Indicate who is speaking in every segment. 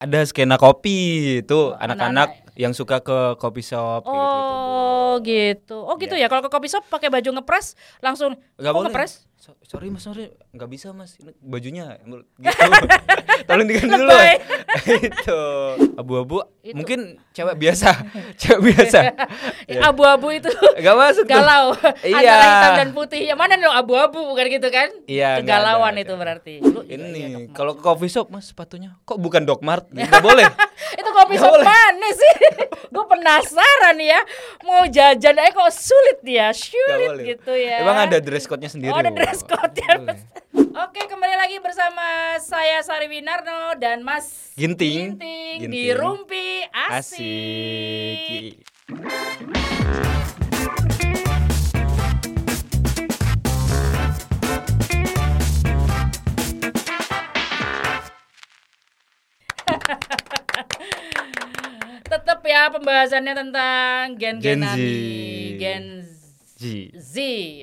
Speaker 1: ada skena kopi itu
Speaker 2: anak-anak.
Speaker 1: anak-anak yang suka ke kopi shop gitu. kayak gitu-gitu.
Speaker 2: Oh gitu. Oh gitu
Speaker 1: Iya.
Speaker 2: ya. Kalau ke kopi shop pakai baju ngepres langsung
Speaker 1: Nggak
Speaker 2: "Oh,
Speaker 1: boleh.
Speaker 2: ngepres.
Speaker 1: So- sorry mas sorry nggak bisa mas Ini bajunya gitu tolong diganti dulu
Speaker 2: Lebay.
Speaker 1: itu abu-abu
Speaker 2: Itu.
Speaker 1: mungkin cewek biasa cewek biasa
Speaker 2: Eh,
Speaker 1: Ya.
Speaker 2: Abu-abu itu
Speaker 1: nggak masuk tuh.
Speaker 2: galau
Speaker 1: Iya.
Speaker 2: antara hitam dan putih. Yang mana lo abu-abu bukan gitu kan?
Speaker 1: Iya, nggak
Speaker 2: Kegalauan
Speaker 1: ada,
Speaker 2: itu
Speaker 1: nggak ada.
Speaker 2: berarti. Lu juga iya, Dok
Speaker 1: ini
Speaker 2: Mart.
Speaker 1: kalau ke coffee shop mas sepatunya kok bukan Doc Mart nggak boleh
Speaker 2: itu kopi
Speaker 1: Nggak
Speaker 2: shop
Speaker 1: boleh.
Speaker 2: mana sih? Gue penasaran ya. Mau jajan aja kok sulit ya,
Speaker 1: nggak
Speaker 2: sulit
Speaker 1: boleh
Speaker 2: gitu ya.
Speaker 1: emang ada dress code-nya sendiri
Speaker 2: Oh, ada
Speaker 1: loh.
Speaker 2: dress code ya.
Speaker 1: Boleh.
Speaker 2: Oke, kembali lagi bersama saya Sari Winarno dan Mas
Speaker 1: Ginting.
Speaker 2: di
Speaker 1: Ginting.
Speaker 2: Rumpi Asik.
Speaker 1: asik
Speaker 2: Tetap ya pembahasannya tentang
Speaker 1: Gen
Speaker 2: gen-genan
Speaker 1: Z. Ya.
Speaker 2: nih, Gen
Speaker 1: Ji
Speaker 2: Z.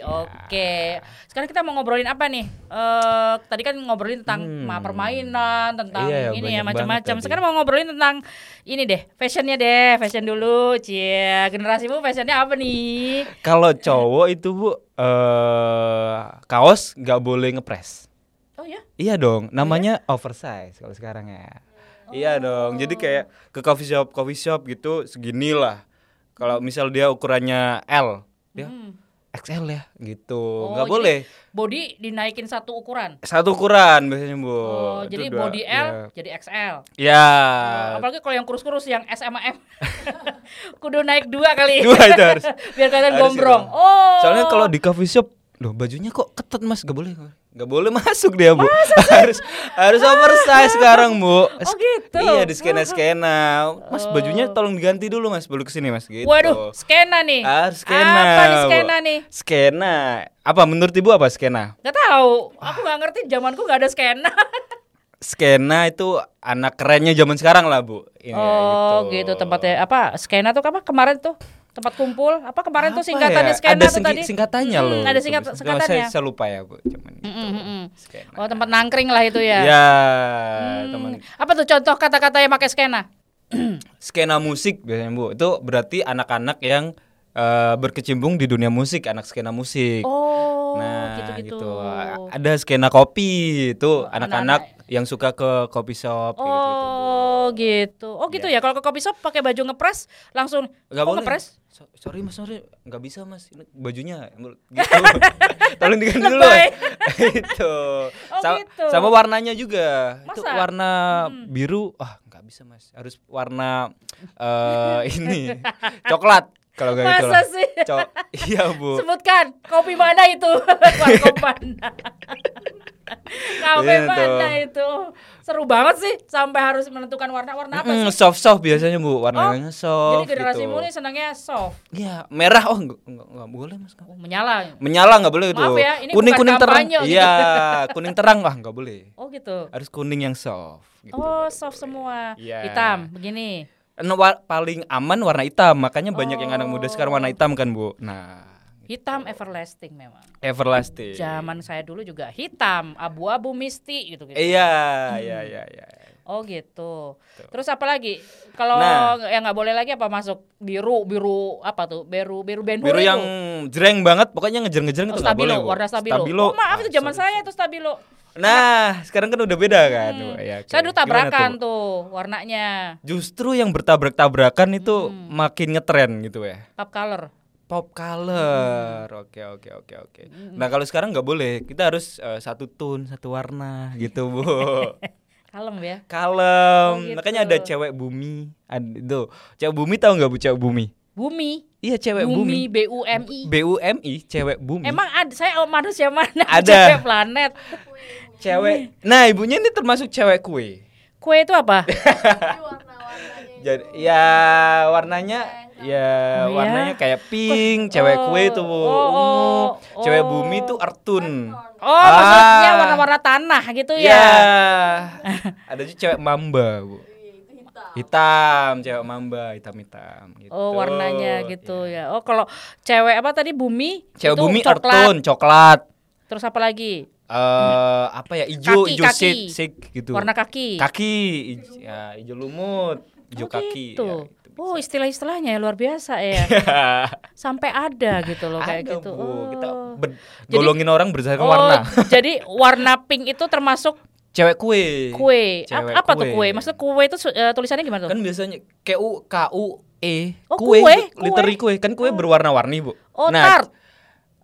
Speaker 2: Oke. Sekarang kita mau ngobrolin apa nih? Eh tadi kan ngobrolin tentang
Speaker 1: Hmm.
Speaker 2: ma- permainan, tentang
Speaker 1: Iya, banyak
Speaker 2: ini ya
Speaker 1: banget
Speaker 2: macam-macam.
Speaker 1: tadi.
Speaker 2: Sekarang mau ngobrolin tentang ini deh, fashionnya deh, fashion dulu. Cie, generasimu fashionnya apa nih?
Speaker 1: kalau cowok itu bu eh kaos nggak boleh ngepres
Speaker 2: Oh ya.
Speaker 1: Iya dong, namanya oversize kalau sekarang ya.
Speaker 2: Oh.
Speaker 1: Iya dong. Jadi kayak ke coffee shop, coffee shop gitu segini lah. Kalau misal dia ukurannya L, dia
Speaker 2: Hmm.
Speaker 1: XL ya gitu.
Speaker 2: Oh,
Speaker 1: nggak
Speaker 2: jadi-
Speaker 1: boleh.
Speaker 2: Body dinaikin satu ukuran.
Speaker 1: Satu ukuran biasanya, Bu.
Speaker 2: Oh,
Speaker 1: Itu
Speaker 2: jadi
Speaker 1: dua- iya.
Speaker 2: body L jadi XL.
Speaker 1: Ya. Ya.
Speaker 2: Oh, apalagi kalau yang kurus-kurus yang S sama M. Kudu naik dua kali.
Speaker 1: Dua itu harus.
Speaker 2: Biar kalian
Speaker 1: Harus
Speaker 2: gombrong.
Speaker 1: gitu.
Speaker 2: Oh.
Speaker 1: Soalnya kalau di coffee shop, loh bajunya kok ketat Mas, nggak boleh. nggak boleh masuk dia, Bu. harus harus oversize sekarang, Bu.
Speaker 2: Oh, gitu. Oh.
Speaker 1: Iya, di skena-skena. Mas, bajunya tolong diganti dulu, Mas. Baru kesini Mas gitu.
Speaker 2: Waduh, skena nih.
Speaker 1: Ah, skena.
Speaker 2: Apa nih
Speaker 1: Bu.
Speaker 2: skena nih?
Speaker 1: Skena. Apa menurut Ibu apa skena?
Speaker 2: Gak tahu.
Speaker 1: Ah.
Speaker 2: Aku gak ngerti zamanku gak ada skena.
Speaker 1: Skena itu anak kerennya zaman sekarang lah, Bu. Ini ya,
Speaker 2: oh, gitu. tempatnya apa? Skena tuh apa kemarin tuh? Tempat kumpul apa kemarin tuh
Speaker 1: Apa
Speaker 2: singkatannya
Speaker 1: ya?
Speaker 2: skena
Speaker 1: ada
Speaker 2: tuh
Speaker 1: singki-
Speaker 2: tadi?
Speaker 1: singkatannya
Speaker 2: Mm,
Speaker 1: loh.
Speaker 2: Ada
Speaker 1: itu.
Speaker 2: singkat
Speaker 1: Saya-
Speaker 2: singkatannya.
Speaker 1: Saya, lupa ya, Bu. Cuman gitu.
Speaker 2: Mm, mm, mm.
Speaker 1: Skena.
Speaker 2: Oh, tempat nangkring lah itu ya.
Speaker 1: Ya, teman.
Speaker 2: Hmm, Apa tuh contoh kata-kata yang pakai skena?
Speaker 1: Skena musik biasanya, Bu. Itu berarti anak-anak yang eh, berkecimpung di dunia musik, anak skena musik.
Speaker 2: Oh,
Speaker 1: nah,
Speaker 2: gitu-gitu.
Speaker 1: Ada skena kopi, itu anak-anak
Speaker 2: anak-anak.
Speaker 1: yang suka ke kopi shop kayak gitu-gitu.
Speaker 2: Oh gitu. Oh gitu ya. Kalau ke kopi shop pakai baju ngepres langsung
Speaker 1: Gak
Speaker 2: "Kok
Speaker 1: Iya. boleh.
Speaker 2: ngepres.
Speaker 1: So- sorry mas, sorry nggak bisa mas. Ini bajunya gitu. Tolong diganti dulu.
Speaker 2: Lebay.
Speaker 1: itu.
Speaker 2: Oh, gitu.
Speaker 1: Sama warnanya juga. Itu
Speaker 2: Masa? Hmm.
Speaker 1: warna biru. Ah nggak bisa mas. Harus warna eh ini coklat kalau nggak gitu.
Speaker 2: Masa
Speaker 1: lah.
Speaker 2: sih?
Speaker 1: Co- iya bu.
Speaker 2: Sebutkan kopi mana itu? Warkop mana? Kopi
Speaker 1: Iya,
Speaker 2: mana
Speaker 1: tuh.
Speaker 2: itu? Seru banget sih sampai harus menentukan warna-warna apa sih? Oh,
Speaker 1: soft soft biasanya bu. Warnanya
Speaker 2: Jadi
Speaker 1: soft.
Speaker 2: generasimu
Speaker 1: gitu.
Speaker 2: nih senangnya soft,
Speaker 1: Iya merah. Oh nggak nggak- nggak boleh mas.
Speaker 2: oh, menyala.
Speaker 1: Menyala nggak boleh
Speaker 2: Maaf
Speaker 1: tuh.
Speaker 2: ya, ini
Speaker 1: kuning kuning
Speaker 2: bukan
Speaker 1: terang.
Speaker 2: kampanye, gitu.
Speaker 1: Iya kuning terang wah nggak boleh.
Speaker 2: Oh gitu.
Speaker 1: harus kuning yang soft gitu.
Speaker 2: Oh soft semua.
Speaker 1: Iya.
Speaker 2: Hitam begini.
Speaker 1: Nah, wa- paling aman warna hitam makanya banyak yang
Speaker 2: Oh.
Speaker 1: anak muda sekarang warna hitam kan bu nah
Speaker 2: Hitam everlasting memang.
Speaker 1: everlasting
Speaker 2: Zaman saya dulu juga hitam, abu-abu misti gitu gitu.
Speaker 1: iya iya iya iya
Speaker 2: Oh gitu. Terus apa lagi? Kalau
Speaker 1: Nah.
Speaker 2: yang nggak boleh lagi apa masuk biru biru apa tuh? Biru biru Ben Hur
Speaker 1: biru
Speaker 2: itu.
Speaker 1: yang jreng banget pokoknya ngejereng-ngereng
Speaker 2: Oh,
Speaker 1: itu nggak
Speaker 2: stabilo,
Speaker 1: boleh Bu.
Speaker 2: warna stabilo. Oh,
Speaker 1: Ah,
Speaker 2: maaf itu zaman
Speaker 1: sorry.
Speaker 2: saya itu stabilo.
Speaker 1: nah sekarang kan udah beda kan Bu.
Speaker 2: Hmm.
Speaker 1: Ya, oke.
Speaker 2: Saya dulu
Speaker 1: Gimana
Speaker 2: tabrakan
Speaker 1: tuh?
Speaker 2: tuh? warnanya
Speaker 1: justru yang bertabrak-tabrakan itu
Speaker 2: Hmm.
Speaker 1: makin ngetren gitu ya
Speaker 2: pop color.
Speaker 1: pop color
Speaker 2: Hmm.
Speaker 1: oke oke oke oke nah kalau sekarang nggak boleh kita harus eh, satu tone satu warna gitu bu
Speaker 2: Kalem ya.
Speaker 1: kalem
Speaker 2: Oh, gitu.
Speaker 1: makanya ada cewek bumi ada itu cewek bumi tahu nggak bu cewek bumi
Speaker 2: Bumi,
Speaker 1: iya cewek bumi,
Speaker 2: bumi, B U M I.
Speaker 1: B U M I cewek bumi
Speaker 2: Emang ada saya manusia mana?
Speaker 1: Ada.
Speaker 2: Cewek planet.
Speaker 1: cewek
Speaker 2: Iya.
Speaker 1: nah ibunya ini termasuk cewek kue
Speaker 2: Kue itu apa?
Speaker 1: jadi ya warnanya ya
Speaker 2: Oh, ya?
Speaker 1: warnanya kayak pink cewek kue itu bu
Speaker 2: Oh, oh,
Speaker 1: ungu
Speaker 2: oh.
Speaker 1: cewek bumi itu artun
Speaker 2: Oh, maksudnya
Speaker 1: Ah.
Speaker 2: warna-warna tanah gitu
Speaker 1: Iya
Speaker 2: ya.
Speaker 1: ada juga cewek mamba bu hitam cewek mamba hitam hitam gitu Iya.
Speaker 2: Oh warnanya gitu ya. Oh kalau cewek apa tadi bumi?
Speaker 1: cewek
Speaker 2: itu
Speaker 1: bumi
Speaker 2: coklat.
Speaker 1: artun coklat
Speaker 2: Terus apa lagi?
Speaker 1: eh apa ya hijau
Speaker 2: Kaki,
Speaker 1: hijau
Speaker 2: kaki.
Speaker 1: shade, shade gitu
Speaker 2: Warna kaki.
Speaker 1: kaki ij- ya, hijau lumut hijau
Speaker 2: Oh,
Speaker 1: kaki
Speaker 2: gitu.
Speaker 1: ya, gitu. Iya.
Speaker 2: oh, istilah-istilahnya ya luar biasa ya. Sampai ada gitu loh kayak
Speaker 1: Ada,
Speaker 2: gitu.
Speaker 1: Bu. kita
Speaker 2: Oh.
Speaker 1: ber-
Speaker 2: Jadi-
Speaker 1: golongin orang berdasarkan
Speaker 2: Oh,
Speaker 1: warna
Speaker 2: jadi warna pink itu termasuk
Speaker 1: cewek kue
Speaker 2: kue. Ap-
Speaker 1: Cewek
Speaker 2: apa tuh
Speaker 1: kue.
Speaker 2: kue? Maksudnya kue itu su- eh, tulisannya gimana tuh?
Speaker 1: kan biasanya K U K U E
Speaker 2: Oh, kue, kue.
Speaker 1: literi kue kan kue berwarna-warni bu
Speaker 2: oh,
Speaker 1: nah
Speaker 2: tart.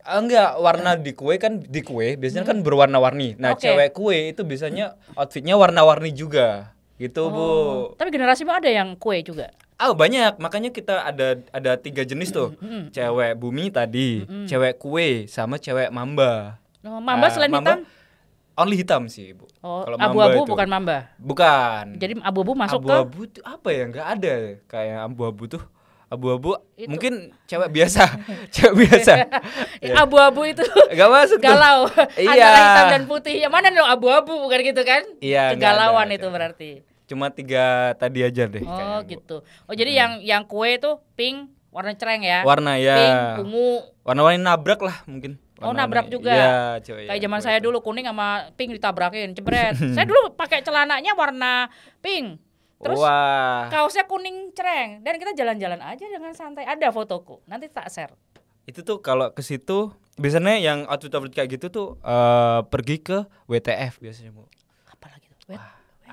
Speaker 1: enggak warna di kue kan di kue biasanya kan berwarna-warni nah
Speaker 2: Hmm. Oke.
Speaker 1: cewek kue itu biasanya outfitnya warna-warni juga gitu bu
Speaker 2: Oh, Tapi generasimu ada yang kue juga.
Speaker 1: Ah banyak, makanya kita ada ada tiga jenis tuh, cewek bumi tadi, cewek kue, sama cewek mamba.
Speaker 2: Oh, mamba
Speaker 1: Ah,
Speaker 2: selain hitam?
Speaker 1: Only hitam sih bu.
Speaker 2: Oh,
Speaker 1: Kalau mamba
Speaker 2: abu-abu
Speaker 1: itu-
Speaker 2: bukan mamba.
Speaker 1: Bukan.
Speaker 2: Jadi abu-abu masuk ke
Speaker 1: abu-abu tuh apa ya? Nggak ada ya, kayak abu-abu tuh. Abu-abu mungkin cewek biasa, cewek biasa. iya.
Speaker 2: Eh, abu-abu itu
Speaker 1: Gak masuk tuh.
Speaker 2: galau
Speaker 1: Iya.
Speaker 2: antara hitam dan putih. Ya mana lo abu-abu bukan gitu kan?
Speaker 1: Iya, nggak
Speaker 2: Kegalauan
Speaker 1: ada, Iya,
Speaker 2: itu
Speaker 1: nggak ada.
Speaker 2: berarti.
Speaker 1: Cuma tiga tadi aja deh.
Speaker 2: Oh,
Speaker 1: kayaknya, Bu.
Speaker 2: gitu. Oh, jadi yang yang kue itu pink warna cereng ya.
Speaker 1: Warna ya.
Speaker 2: Pink, ungu.
Speaker 1: Warna-warna nabrak lah mungkin.
Speaker 2: Oh,
Speaker 1: Warna-warna-
Speaker 2: nabrak juga.
Speaker 1: Iya, cewek.
Speaker 2: Kayak zaman
Speaker 1: kue
Speaker 2: saya
Speaker 1: itu.
Speaker 2: dulu kuning sama pink ditabrakin, jebret. saya dulu pakai celananya warna pink. Terus
Speaker 1: Wah.
Speaker 2: kaosnya kuning cereng dan kita jalan-jalan aja dengan santai. Ada fotoku. Nanti tak share.
Speaker 1: itu tuh kalau ke situ biasanya yang outfit outfit kayak gitu tuh eh, pergi ke WTF biasanya bu
Speaker 2: Apalagi itu. Wet.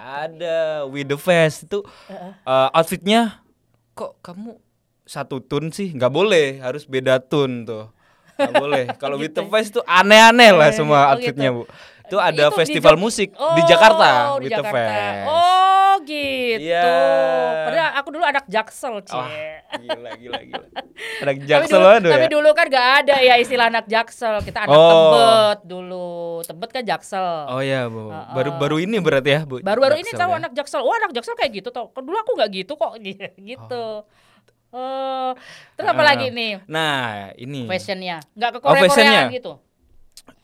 Speaker 1: ada with the fest itu eh, outfitnya kok kamu satu tun sih nggak boleh harus beda tun tuh nggak boleh kalau with the fest tuh aneh-aneh lah semua
Speaker 2: gitu. Oh,
Speaker 1: outfitnya
Speaker 2: gitu.
Speaker 1: bu itu ada
Speaker 2: Itu di
Speaker 1: festival
Speaker 2: Jog-
Speaker 1: musik
Speaker 2: Oh,
Speaker 1: di Jakarta with
Speaker 2: di
Speaker 1: the
Speaker 2: Jakarta.
Speaker 1: fest
Speaker 2: Oh, gitu.
Speaker 1: Iya.
Speaker 2: Padahal aku dulu anak Jaksel, Cie.
Speaker 1: Wah, gila gila gila ada
Speaker 2: Tapi
Speaker 1: jaksel
Speaker 2: dulu-
Speaker 1: aduh
Speaker 2: Tapi
Speaker 1: ya
Speaker 2: dulu kan gak ada ya istilah anak Jaksel. Kita anak
Speaker 1: Oh.
Speaker 2: Tebet dulu. Tebet kan Jaksel.
Speaker 1: oh ya bu
Speaker 2: Heeh.
Speaker 1: baru baru ini berarti ya bu
Speaker 2: Baru-baru ini
Speaker 1: Jaksel
Speaker 2: tahu
Speaker 1: ya.
Speaker 2: anak Jaksel. Wah, anak Jaksel kayak gitu tau. Dulu aku nggak gitu kok gitu. Oh. Terus apa
Speaker 1: Ah.
Speaker 2: lagi nih?
Speaker 1: nah ini
Speaker 2: Fashionnya nggak ke
Speaker 1: Oh, fashionnya.
Speaker 2: Korea-Koreaan gitu.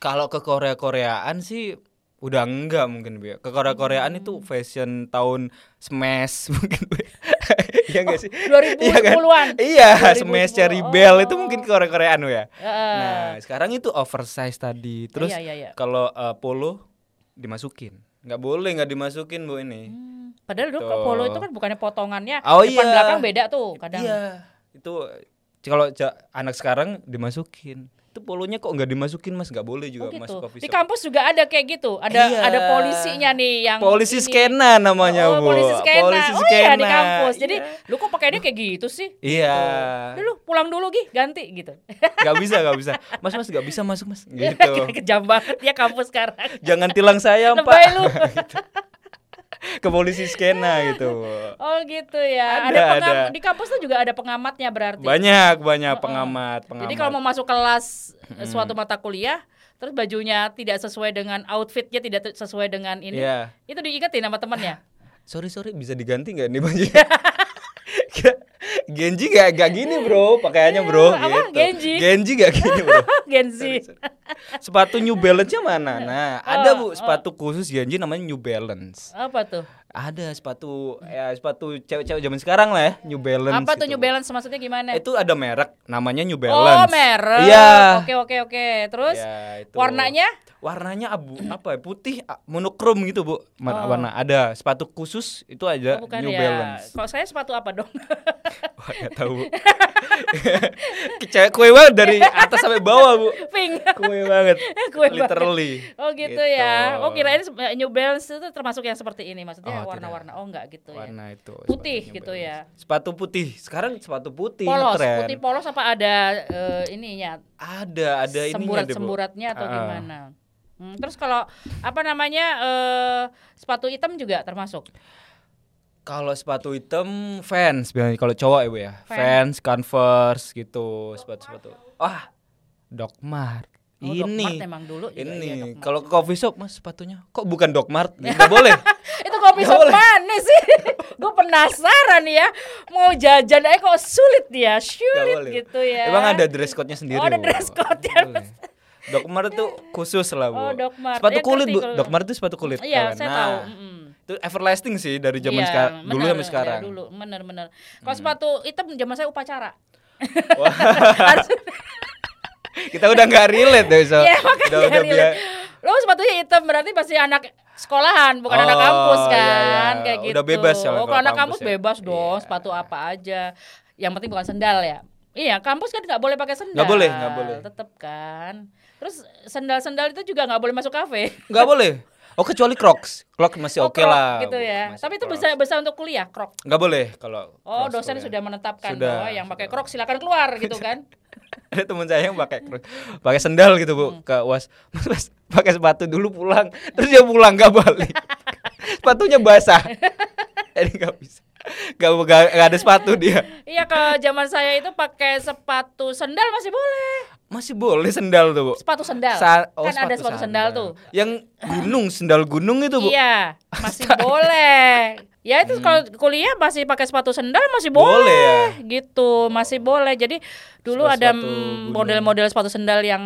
Speaker 1: Kalau ke Korea-Koreaan sih udah enggak mungkin Bu. ya. Ke Korea-Koreaan itu
Speaker 2: Hmm.
Speaker 1: fashion tahun smash mungkin Bu. Iya
Speaker 2: Oh.
Speaker 1: enggak sih?
Speaker 2: 2010-an.
Speaker 1: Iya,
Speaker 2: 2010.
Speaker 1: smash Cherry Bell itu
Speaker 2: Oh.
Speaker 1: mungkin ke Korea-Koreaan Bu, ya.
Speaker 2: Heeh.
Speaker 1: Nah, sekarang itu oversize tadi. Terus
Speaker 2: Iya, iya, iya.
Speaker 1: kalau eh, polo dimasukin. Nggak boleh nggak dimasukin Bu ini.
Speaker 2: Hmm, Padahal dulu
Speaker 1: Tuh.
Speaker 2: polo itu kan bukannya potongannya
Speaker 1: Oh,
Speaker 2: depan
Speaker 1: iya.
Speaker 2: belakang beda tuh kadang.
Speaker 1: Iya, itu eh, kalau ja- anak sekarang dimasukin. Itu polonya kok nggak dimasukin Mas? Nggak boleh juga
Speaker 2: Oh
Speaker 1: Mas
Speaker 2: gitu.
Speaker 1: coffee shop.
Speaker 2: Di kampus juga ada kayak gitu. Ada
Speaker 1: Iya.
Speaker 2: ada polisinya nih yang
Speaker 1: Polisi
Speaker 2: ini.
Speaker 1: skena namanya
Speaker 2: oh,
Speaker 1: Bu.
Speaker 2: polisi skena.
Speaker 1: Polisi
Speaker 2: Oh iya di
Speaker 1: skena.
Speaker 2: kampus. Jadi
Speaker 1: Iya.
Speaker 2: lu kok pakainya kayak gitu sih?
Speaker 1: Iya,
Speaker 2: Dulu pulang dulu Gi, ganti gitu.
Speaker 1: nggak bisa nggak bisa, mas mas nggak bisa masuk mas, gitu.
Speaker 2: Kejam banget ya kampus sekarang.
Speaker 1: Jangan tilang saya
Speaker 2: Lebay
Speaker 1: pak,
Speaker 2: lu.
Speaker 1: ke polisi skena gitu.
Speaker 2: Oh gitu ya. Ada,
Speaker 1: Ada,
Speaker 2: pengam-
Speaker 1: ada.
Speaker 2: di kampus tuh juga ada pengamatnya berarti.
Speaker 1: Banyak banyak pengamat pengamat.
Speaker 2: Jadi kalau mau masuk kelas eh, suatu mata kuliah, terus bajunya tidak sesuai dengan outfitnya tidak te- sesuai dengan ini,
Speaker 1: Iya.
Speaker 2: itu diingetin sama temennya.
Speaker 1: sorry sorry bisa diganti nggak nih baju? Genji gak, gak gini bro pakaiannya bro
Speaker 2: Iya, apa?
Speaker 1: gitu.
Speaker 2: Genji?
Speaker 1: Genji gak gini bro.
Speaker 2: Gen Z.
Speaker 1: Sepatu New Balance-nya mana? Nah, ada
Speaker 2: Oh,
Speaker 1: Bu sepatu khusus Genji namanya New Balance.
Speaker 2: Apa tuh?
Speaker 1: Ada sepatu ya sepatu cewek-cewek zaman sekarang lah ya, New Balance.
Speaker 2: Apa tuh
Speaker 1: gitu,
Speaker 2: New
Speaker 1: Bu.
Speaker 2: Balance maksudnya gimana?
Speaker 1: Itu ada merek namanya New Balance.
Speaker 2: Oh, merah.
Speaker 1: Iya.
Speaker 2: Oke, oke, oke. Terus
Speaker 1: Iya, itu.
Speaker 2: warnanya?
Speaker 1: Warnanya abu apa ya? Putih a- monokrom gitu, Bu. Warna,
Speaker 2: Oh.
Speaker 1: warna ada sepatu khusus itu aja
Speaker 2: Oh, bukan
Speaker 1: New
Speaker 2: ya.
Speaker 1: Balance.
Speaker 2: Kalau saya sepatu apa dong?
Speaker 1: Wah, gak tahu, Bu. Kecewek kue banget dari atas sampai bawah, Bu.
Speaker 2: Pink.
Speaker 1: Kue banget.
Speaker 2: Kue banget.
Speaker 1: Literally.
Speaker 2: Oh gitu, ya. Oh kirain se- New Balance itu termasuk yang seperti ini maksudnya
Speaker 1: Oh,
Speaker 2: warna-warna. Oh enggak gitu ya.
Speaker 1: Warna itu.
Speaker 2: Putih
Speaker 1: sepatu New
Speaker 2: gitu
Speaker 1: Balance.
Speaker 2: ya.
Speaker 1: Sepatu putih. Sekarang sepatu putih
Speaker 2: Polos,
Speaker 1: ngetren.
Speaker 2: putih polos apa ada eh, ininya?
Speaker 1: Ada, ada ininya deh, Bu.
Speaker 2: Semburat-semburatnya atau
Speaker 1: Ah, ah.
Speaker 2: gimana? Hmm, terus kalau apa namanya eh sepatu hitam juga termasuk.
Speaker 1: Kalau sepatu hitam fans biasanya kalau cowok ya Bu ya. Fans, Converse gitu, sepatu-sepatu. Wah, Doc Mart.
Speaker 2: Oh, Doc Mart
Speaker 1: ini
Speaker 2: emang dulu juga, iya, Doc
Speaker 1: ini
Speaker 2: Mart.
Speaker 1: kalau ke coffee shop Mas sepatunya kok bukan Doc Mart? Enggak boleh.
Speaker 2: Itu kopi
Speaker 1: Nggak
Speaker 2: shop
Speaker 1: boleh.
Speaker 2: mana sih? Gue penasaran ya. Mau jajan aja kok sulit ya,
Speaker 1: Enggak
Speaker 2: sulit
Speaker 1: boleh.
Speaker 2: gitu ya.
Speaker 1: Emang ada dress code-nya sendiri.
Speaker 2: Oh, ada
Speaker 1: Bu.
Speaker 2: dress code-nya.
Speaker 1: Nggak boleh. Doc Mart itu khusus lah Bu.
Speaker 2: Oh, Doc Mart.
Speaker 1: Sepatu
Speaker 2: Ya,
Speaker 1: kulit
Speaker 2: ngerti
Speaker 1: Bu.
Speaker 2: kalau-
Speaker 1: Doc Mart itu sepatu kulit.
Speaker 2: Iya,
Speaker 1: kawan.
Speaker 2: saya
Speaker 1: nah,
Speaker 2: tahu. mm-mm.
Speaker 1: Itu everlasting sih dari zaman
Speaker 2: Iya,
Speaker 1: sekarang dulu
Speaker 2: benar,
Speaker 1: sampai
Speaker 2: iya,
Speaker 1: sekarang. Hmm.
Speaker 2: dulu, benar benar. Kalau sepatu hitam zaman saya upacara.
Speaker 1: Wah. Kita udah nggak relate deh so.
Speaker 2: Iya, makanya
Speaker 1: udah, udah
Speaker 2: relate.
Speaker 1: bia-
Speaker 2: Lo sepatunya hitam berarti masih anak sekolahan, bukan
Speaker 1: Oh,
Speaker 2: anak kampus
Speaker 1: iya,
Speaker 2: kan?
Speaker 1: iya.
Speaker 2: Kayak gitu.
Speaker 1: Udah bebas ya
Speaker 2: Oh,
Speaker 1: kalau
Speaker 2: kalau anak
Speaker 1: kampus
Speaker 2: kampus
Speaker 1: ya.
Speaker 2: bebas dong,
Speaker 1: Iya.
Speaker 2: sepatu apa aja. Yang penting bukan sendal ya. Iya, kampus kan nggak boleh pakai sendal.
Speaker 1: Nggak boleh, nggak boleh.
Speaker 2: Tetep kan. Terus sendal-sendal itu juga nggak boleh masuk kafe.
Speaker 1: Nggak boleh. Oh kecuali Crocs. Crocs masih
Speaker 2: Oh,
Speaker 1: oke
Speaker 2: Crocs
Speaker 1: lah.
Speaker 2: Gitu ya.
Speaker 1: Masih
Speaker 2: Tapi itu
Speaker 1: Crocs.
Speaker 2: bisa bisa untuk kuliah, krok.
Speaker 1: Nggak boleh kalau
Speaker 2: Oh,
Speaker 1: Crocs
Speaker 2: dosen
Speaker 1: boleh.
Speaker 2: sudah menetapkan
Speaker 1: Sudah,
Speaker 2: bahwa yang pakai
Speaker 1: sudah.
Speaker 2: krok silakan keluar gitu kan.
Speaker 1: ada teman saya yang pakai kru- pakai sendal gitu
Speaker 2: Hmm.
Speaker 1: bu ke uas mas mas pakai sepatu dulu pulang terus dia pulang nggak balik sepatunya basah jadi nggak bisa nggak nggak nggak ada sepatu dia
Speaker 2: Iya ke zaman saya itu pakai sepatu sendal masih boleh.
Speaker 1: masih boleh sendal tuh bu
Speaker 2: Sepatu sendal.
Speaker 1: Sa- oh,
Speaker 2: kan ada sepatu sendal, tuh.
Speaker 1: yang gunung sendal gunung itu bu Hmm.
Speaker 2: Iya, masih boleh. Ya itu kalau kuliah masih pakai sepatu sendal masih boleh,
Speaker 1: Boleh ya? Oh.
Speaker 2: gitu, masih boleh. Jadi dulu
Speaker 1: Sepatu-
Speaker 2: ada
Speaker 1: sepatu
Speaker 2: mm,
Speaker 1: gunung.
Speaker 2: model-model sepatu sendal yang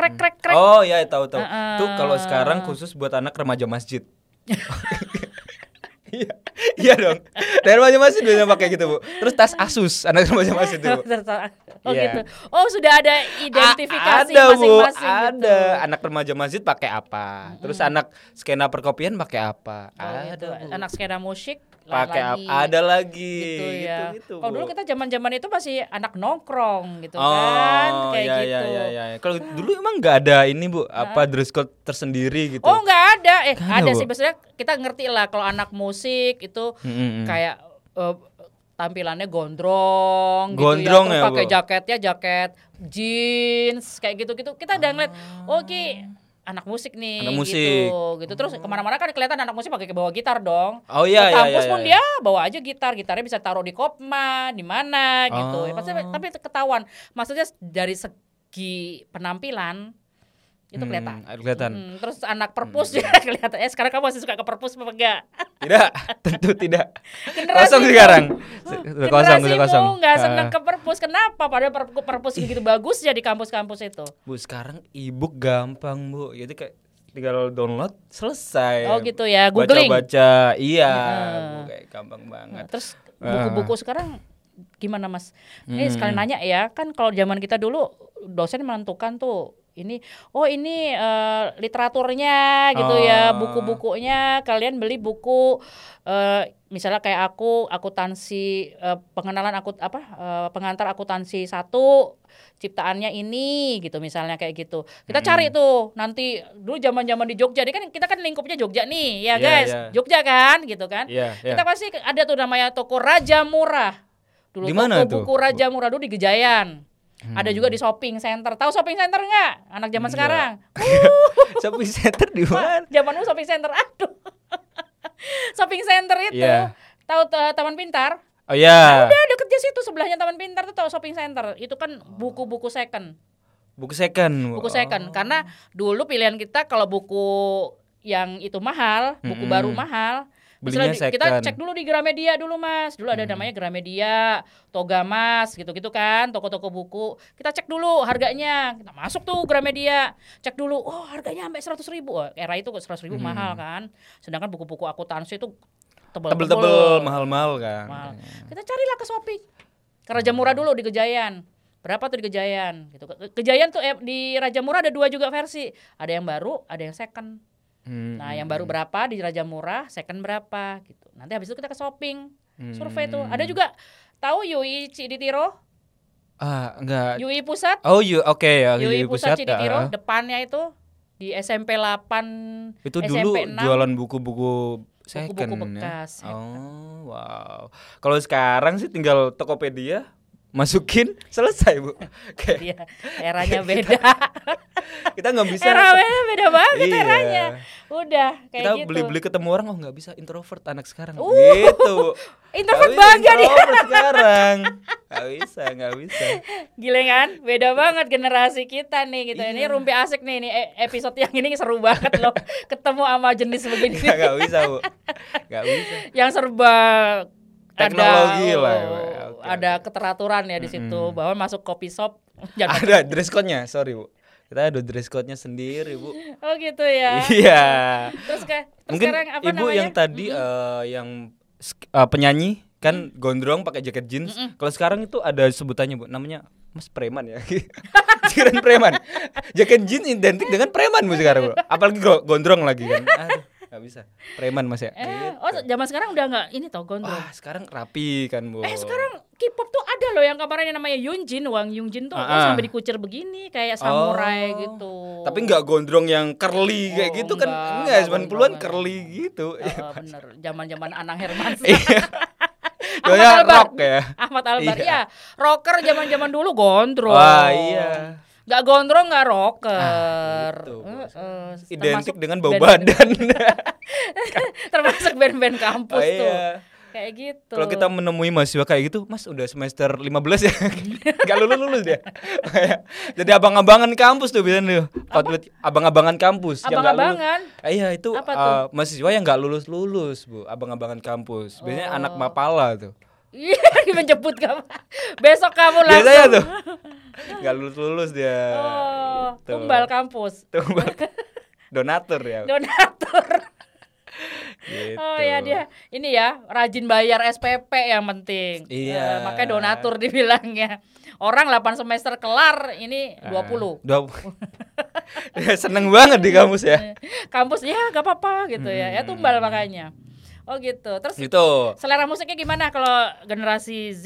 Speaker 2: krek krek krek.
Speaker 1: oh ya tahu tahu
Speaker 2: Heeh.
Speaker 1: tuh kalau sekarang khusus buat anak remaja masjid Iya, iya dong. Dan remaja masjid biasanya pakai gitu, Bu. Terus tas Asus anak remaja masjid tuh, Bu.
Speaker 2: Oh
Speaker 1: Iya.
Speaker 2: gitu. Oh sudah ada identifikasi
Speaker 1: A- ada, Bu.
Speaker 2: masing-masing. gitu.
Speaker 1: ada anak remaja masjid pakai apa terus anak skena perkopian pakai apa
Speaker 2: Oh, gitu.
Speaker 1: ada Bu.
Speaker 2: Anak skena musik lain
Speaker 1: pakai apa
Speaker 2: lagi.
Speaker 1: ada lagi
Speaker 2: gitu ya.
Speaker 1: gitu,
Speaker 2: Kalau
Speaker 1: Bu.
Speaker 2: dulu kita zaman-zaman itu masih anak nongkrong
Speaker 1: oh,
Speaker 2: gitu kan, kayak
Speaker 1: ya, ya,
Speaker 2: gitu.
Speaker 1: ya, ya. Kalau dulu emang nggak ada ini bu, apa dress code tersendiri gitu.
Speaker 2: Oh nggak ada, eh
Speaker 1: Nggak ada,
Speaker 2: ada
Speaker 1: Bu.
Speaker 2: sih biasanya kita ngerti lah kalau anak musik itu
Speaker 1: Mm-mm.
Speaker 2: kayak eh, tampilannya gondrong,
Speaker 1: Gondrong
Speaker 2: gitu
Speaker 1: ya,
Speaker 2: ya, Terus pakai
Speaker 1: Bu?
Speaker 2: jaketnya jaket jeans kayak gitu-gitu. Kita udah ngeliat, oh Ki, anak musik nih,
Speaker 1: Ah. Anak musik. Hmm.
Speaker 2: gitu, gitu. Terus kemana-mana kan kelihatan anak musik pakai bawa gitar dong.
Speaker 1: Oh iya
Speaker 2: Ke
Speaker 1: iya.
Speaker 2: kampus
Speaker 1: iya,
Speaker 2: pun
Speaker 1: iya.
Speaker 2: dia bawa aja gitar, gitarnya bisa taruh di kopma, di mana gitu. Ya, pasti-
Speaker 1: Oh.
Speaker 2: tapi itu ketahuan. Maksudnya dari segi penampilan itu
Speaker 1: Hmm,
Speaker 2: kelihatan.
Speaker 1: kelihatan.
Speaker 2: Mm, terus anak perpus juga kelihatan. Eh sekarang kamu masih suka ke perpus apa enggak?
Speaker 1: Tidak, tentu tidak.
Speaker 2: Generasi
Speaker 1: kosong
Speaker 2: mu-
Speaker 1: sekarang. Sudah kosong, sudah
Speaker 2: generasimu
Speaker 1: kosong.
Speaker 2: nggak
Speaker 1: Ah.
Speaker 2: seneng ke perpus. Kenapa? Padahal perp- perpus begitu bagus ya di kampus-kampus itu.
Speaker 1: Bu sekarang e-book gampang bu, jadi kayak tinggal download selesai.
Speaker 2: Oh, gitu ya, googling. Hmm.
Speaker 1: Baca-baca, iya,
Speaker 2: Heeh.
Speaker 1: Bu, kayak gampang banget.
Speaker 2: Nah,
Speaker 1: Eh.
Speaker 2: Terus buku-buku sekarang gimana mas?
Speaker 1: Hmm.
Speaker 2: Ini sekali nanya ya, kan kalau zaman kita dulu dosen menentukan tuh ini, oh ini eh, literaturnya gitu ya,
Speaker 1: Ah.
Speaker 2: buku-bukunya kalian beli buku eh, misalnya kayak aku akuntansi eh, pengenalan akut apa eh, pengantar akuntansi satu ciptaannya ini gitu misalnya kayak gitu kita
Speaker 1: Hmm.
Speaker 2: cari tuh nanti dulu zaman zaman di Jogja, ini kan kita kan lingkupnya Jogja nih
Speaker 1: Iya,
Speaker 2: ya guys,
Speaker 1: iya.
Speaker 2: Jogja kan gitu kan,
Speaker 1: Iya, iya.
Speaker 2: kita pasti ke- ada tuh namanya toko Raja Murah.
Speaker 1: Di
Speaker 2: Dulu
Speaker 1: mana
Speaker 2: toko
Speaker 1: tuh?
Speaker 2: buku Raja Murah dulu di Gejayan. Ada juga di shopping center. Tahu shopping center nggak? Anak zaman
Speaker 1: Nggak.
Speaker 2: sekarang.
Speaker 1: Shopping center di mana?
Speaker 2: Zaman dulu shopping center. Aduh. shopping center itu
Speaker 1: Iya.
Speaker 2: tahu eh, Taman Pintar?
Speaker 1: Oh ya,
Speaker 2: Ada deket di situ sebelahnya Taman Pintar tuh tahu shopping center. Itu kan buku-buku second.
Speaker 1: buku second. Bu.
Speaker 2: Buku second karena dulu pilihan kita kalau buku yang itu mahal, buku
Speaker 1: Mm-mm.
Speaker 2: baru mahal,
Speaker 1: Belinya
Speaker 2: Misalnya di- kita
Speaker 1: second. Hmm.
Speaker 2: cek dulu di Gramedia dulu mas dulu ada namanya Gramedia Togamas gitu-gitu kan toko-toko buku kita cek dulu harganya kita masuk tuh Gramedia cek dulu oh harganya sampai seratus ribu Wah, era itu seratus ribu
Speaker 1: Hmm.
Speaker 2: mahal kan sedangkan buku-buku akuntansi itu
Speaker 1: Tebel-tebel,
Speaker 2: tebel-tebel
Speaker 1: mahal-mahal kan.
Speaker 2: mahal. kita carilah ke shopping ke Raja Murah dulu di Gejayan berapa tuh di Gejayan gitu Ke- Gejayan tuh eh, di Raja Murah ada dua juga versi ada yang baru ada yang second
Speaker 1: Hmm,
Speaker 2: Nah, yang baru berapa di Raja Murah, second berapa gitu. Nanti habis itu kita ke shopping, survei
Speaker 1: hmm.
Speaker 2: tuh. Ada juga tahu UI Ciditiro,
Speaker 1: Ah, enggak.
Speaker 2: UI Pusat,
Speaker 1: Oh, you oke ya, you
Speaker 2: UI
Speaker 1: ya,
Speaker 2: Pusat
Speaker 1: ah.
Speaker 2: Ciditiro, depannya itu di SMP 8
Speaker 1: Itu
Speaker 2: SMP
Speaker 1: dulu
Speaker 2: 6,
Speaker 1: jualan buku-buku second
Speaker 2: buku-buku
Speaker 1: ya.
Speaker 2: bekas.
Speaker 1: Oh, wow. Kalau sekarang sih tinggal Tokopedia masukin selesai, Bu. Kayak
Speaker 2: Iya, eranya beda.
Speaker 1: kita nggak bisa
Speaker 2: Era beda, beda banget
Speaker 1: Iya.
Speaker 2: eranya. Udah ya, kayak
Speaker 1: kita
Speaker 2: gitu.
Speaker 1: beli-beli ketemu orang oh nggak bisa introvert anak sekarang
Speaker 2: Uh,
Speaker 1: gitu Bu.
Speaker 2: Introvert
Speaker 1: Tapi
Speaker 2: bangga dia.
Speaker 1: introvert sekarang nggak bisa nggak bisa
Speaker 2: Gile kan? Beda banget generasi kita nih gitu.
Speaker 1: Iya.
Speaker 2: Ini rumpi asik nih ini e- episode yang ini seru banget loh. Ketemu sama jenis begini.
Speaker 1: nggak nggak bisa bu nggak bisa
Speaker 2: yang serba
Speaker 1: Teknologi
Speaker 2: ada,
Speaker 1: lah, ya,
Speaker 2: oh,
Speaker 1: oke,
Speaker 2: ada keteraturan ya di situ bahwa masuk kopi shop jangan
Speaker 1: ada dress code-nya sorry bu kita ada dress code-nya sendiri bu
Speaker 2: oh gitu ya
Speaker 1: iya
Speaker 2: terus kayak terus
Speaker 1: mungkin
Speaker 2: sekarang apa
Speaker 1: ibu
Speaker 2: namanya
Speaker 1: yang tadi eh, yang sk- eh, penyanyi kan gondrong pakai jaket jeans kalau sekarang itu ada sebutannya bu namanya Mas preman ya. Jiran preman. Jaket jeans identik dengan preman bu sekarang. Bu. Apalagi go- gondrong lagi kan. Aduh, gak bisa. Preman Mas ya.
Speaker 2: Eh,
Speaker 1: Gitu.
Speaker 2: oh zaman sekarang udah nggak ini toh gondrong.
Speaker 1: Wah, sekarang rapi kan, Bu.
Speaker 2: Eh sekarang K-pop tuh ada loh yang kemarin yang namanya Yunjin, Wang Yunjin tuh
Speaker 1: Ah, ah.
Speaker 2: sampai dikucir begini kayak samurai
Speaker 1: Oh.
Speaker 2: gitu.
Speaker 1: Tapi nggak gondrong yang curly kayak
Speaker 2: Oh,
Speaker 1: gitu kan.
Speaker 2: enggak,
Speaker 1: Enggak,
Speaker 2: enggak
Speaker 1: 90-an
Speaker 2: gondrong.
Speaker 1: curly gitu.
Speaker 2: Eh, eh, bener, zaman-zaman Anang Hermansyah.
Speaker 1: Iya.
Speaker 2: Ahmad
Speaker 1: Doanya
Speaker 2: Albar.
Speaker 1: rock ya.
Speaker 2: Ahmad Albar
Speaker 1: Iya.
Speaker 2: ya, rocker zaman-zaman dulu gondrong.
Speaker 1: Wah, iya.
Speaker 2: Gak gondrong gak rocker.
Speaker 1: Ah, gitu,
Speaker 2: Eh,
Speaker 1: Bos.
Speaker 2: eh,
Speaker 1: identik
Speaker 2: termasuk
Speaker 1: dengan bau
Speaker 2: band-band-
Speaker 1: badan.
Speaker 2: termasuk band-band
Speaker 1: Oh,
Speaker 2: kampus tuh.
Speaker 1: iya.
Speaker 2: Kayak gitu.
Speaker 1: Kalau kita menemui mahasiswa kayak gitu, Mas udah semester 15 ya. Gak lulus lulus dia. Jadi abang-abangan kampus tuh biasanya tuh. Outfit abang-abangan kampus yang nggak lulus.
Speaker 2: Abang-abangan.
Speaker 1: Ah, Iya itu
Speaker 2: Apa
Speaker 1: eh,
Speaker 2: tuh?
Speaker 1: mahasiswa yang nggak lulus lulus bu, abang-abangan kampus. Biasanya anak
Speaker 2: Oh.
Speaker 1: mapala tuh.
Speaker 2: Iya, menjemput kamu. Besok kamu Oh, langsung.
Speaker 1: Biasanya tuh nggak lulus lulus dia.
Speaker 2: Oh,
Speaker 1: Gitu.
Speaker 2: tumbal kampus.
Speaker 1: Tumbal. Donatur ya.
Speaker 2: Donatur.
Speaker 1: Gitu.
Speaker 2: Oh ya dia ini ya rajin bayar SPP yang penting.
Speaker 1: Iya.
Speaker 2: Eh, makanya donatur dibilangnya. Orang 8 semester kelar ini 20.
Speaker 1: Ah. Dua Seneng banget di kampus ya.
Speaker 2: Kampus ya gak apa-apa gitu ya. Ya tumbal makanya. Oh gitu. Terus
Speaker 1: Hmm. Gitu.
Speaker 2: selera musiknya gimana kalau generasi Z?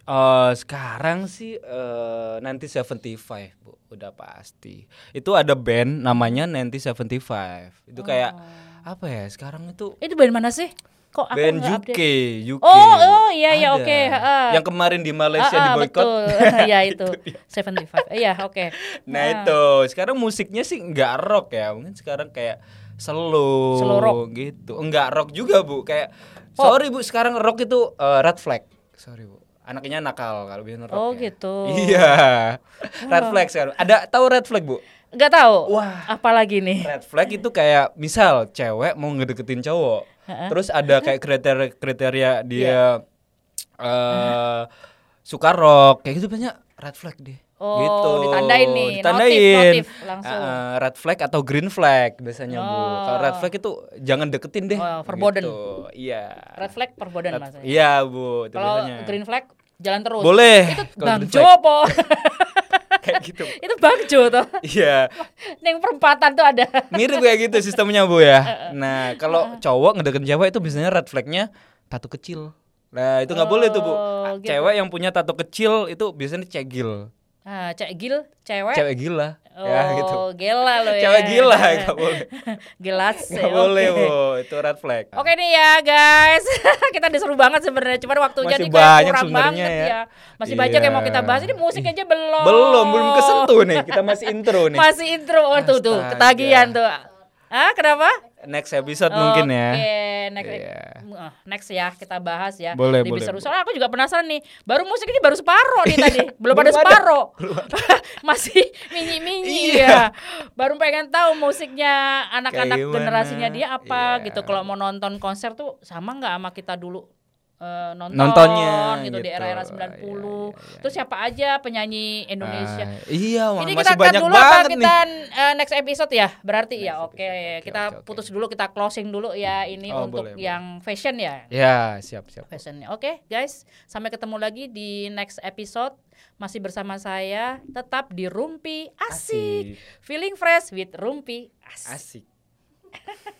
Speaker 1: Eh, sekarang sih eh, nanti 75 bu udah pasti itu ada band namanya nanti 75 itu kayak apa ya sekarang itu
Speaker 2: Itu band mana sih? Kok Oh. aku
Speaker 1: band
Speaker 2: nggak
Speaker 1: UK
Speaker 2: update?
Speaker 1: UK
Speaker 2: Oh,
Speaker 1: Bu.
Speaker 2: oh, iya, iya,
Speaker 1: Ada.
Speaker 2: oke, heeh.
Speaker 1: yang kemarin di Malaysia
Speaker 2: Ah,
Speaker 1: di
Speaker 2: ah,
Speaker 1: boykot
Speaker 2: betul. Iya itu. 75. Iya, oke.
Speaker 1: nah itu sekarang musiknya sih nggak rock ya mungkin sekarang kayak slow
Speaker 2: Slow rock. Oh.
Speaker 1: gitu enggak rock juga bu kayak sorry bu sekarang rock itu eh, red flag sorry bu anaknya nakal kalau bilang rock
Speaker 2: Oh,
Speaker 1: ya.
Speaker 2: gitu.
Speaker 1: Iya. Red flag sekarang. Ada tahu red flag, Bu?
Speaker 2: Gak tahu.
Speaker 1: Wah.
Speaker 2: Apalagi nih?
Speaker 1: Red flag itu kayak misal cewek mau ngedeketin cowok. Terus ada kayak kriteria-kriteria
Speaker 2: Iya.
Speaker 1: dia eh suka rock kayak gitu banyak red flag deh.
Speaker 2: Oh,
Speaker 1: gitu.
Speaker 2: ditandain nih. Notif,
Speaker 1: Ditandain.
Speaker 2: notif langsung.
Speaker 1: Eh, red flag atau green flag biasanya, Bu.
Speaker 2: Oh.
Speaker 1: Kalau red flag itu jangan deketin deh.
Speaker 2: Oh, verboten.
Speaker 1: Gitu. Iya.
Speaker 2: Red flag perbodan
Speaker 1: Red-
Speaker 2: maksudnya.
Speaker 1: Iya, Bu. Itu
Speaker 2: Kalau
Speaker 1: biasanya.
Speaker 2: green flag jalan terus.
Speaker 1: Boleh.
Speaker 2: Itu
Speaker 1: kalau
Speaker 2: Bang
Speaker 1: green
Speaker 2: Jo
Speaker 1: flag.
Speaker 2: po.
Speaker 1: Kayak gitu.
Speaker 2: itu Bang Jo tuh.
Speaker 1: Iya.
Speaker 2: Neng perempatan tuh ada.
Speaker 1: mirip kayak gitu sistemnya bu ya nah kalau cowok ngedeketin cewek itu biasanya red flagnya tato kecil nah itu nggak boleh tuh bu
Speaker 2: Oh, gitu.
Speaker 1: cewek yang punya tato kecil itu biasanya cegil
Speaker 2: Ah, cek gil, cewek.
Speaker 1: cewek gila
Speaker 2: Oh,
Speaker 1: ya gitu
Speaker 2: gila lo ya.
Speaker 1: cewek gila nggak boleh
Speaker 2: Gelas.
Speaker 1: nggak
Speaker 2: oke.
Speaker 1: boleh bu itu red flag
Speaker 2: Oke nih ya guys, kita disuruh banget sebenarnya, cuman waktunya
Speaker 1: Masih
Speaker 2: nih kayak
Speaker 1: banyak
Speaker 2: kurang
Speaker 1: sebenarnya
Speaker 2: banget
Speaker 1: ya.
Speaker 2: ya. Masih banyak yang mau kita
Speaker 1: Iya.
Speaker 2: bahas. Ini musik aja belum.
Speaker 1: belum belum kesentuh nih kita masih intro nih
Speaker 2: Masih intro oh, tuh tuh,
Speaker 1: Astaga.
Speaker 2: ketagihan tuh. Ah, kenapa?
Speaker 1: next episode mungkin ya
Speaker 2: Oke, next,
Speaker 1: Iya.
Speaker 2: eh, next ya kita bahas ya.
Speaker 1: Boleh,
Speaker 2: Lebih
Speaker 1: boleh.
Speaker 2: seru. Soalnya aku juga penasaran nih. Baru musik ini baru separo nih tadi. Belum
Speaker 1: Belum Iya.
Speaker 2: ada
Speaker 1: ada.
Speaker 2: separo. Masih minyi-minyi ya. Baru pengen tahu musiknya anak-anak
Speaker 1: Kayak gimana.
Speaker 2: generasinya dia apa
Speaker 1: Iya.
Speaker 2: gitu. Kalau mau nonton konser tuh sama nggak sama kita dulu? eh, nonton
Speaker 1: Nontonnya,
Speaker 2: gitu, di
Speaker 1: gitu. iya,
Speaker 2: era-era 90 Terus siapa aja penyanyi Indonesia?
Speaker 1: Ah, iya wah,
Speaker 2: Ini
Speaker 1: masih
Speaker 2: kita cut
Speaker 1: banyak
Speaker 2: dulu apa
Speaker 1: banget nih
Speaker 2: kita eh, next episode ya? Berarti ya.
Speaker 1: Next
Speaker 2: Oke,
Speaker 1: episode, oke,
Speaker 2: kita
Speaker 1: oke, oke.
Speaker 2: putus dulu, kita closing dulu ya ini
Speaker 1: Oh,
Speaker 2: untuk
Speaker 1: boleh, boleh.
Speaker 2: yang fashion ya.
Speaker 1: ya siap siap
Speaker 2: Fashionnya. Oke, guys, sampai ketemu lagi di next episode. Masih bersama saya tetap di Rumpi
Speaker 1: Asik.
Speaker 2: Asik. Feeling fresh with Rumpi Asik.
Speaker 1: asik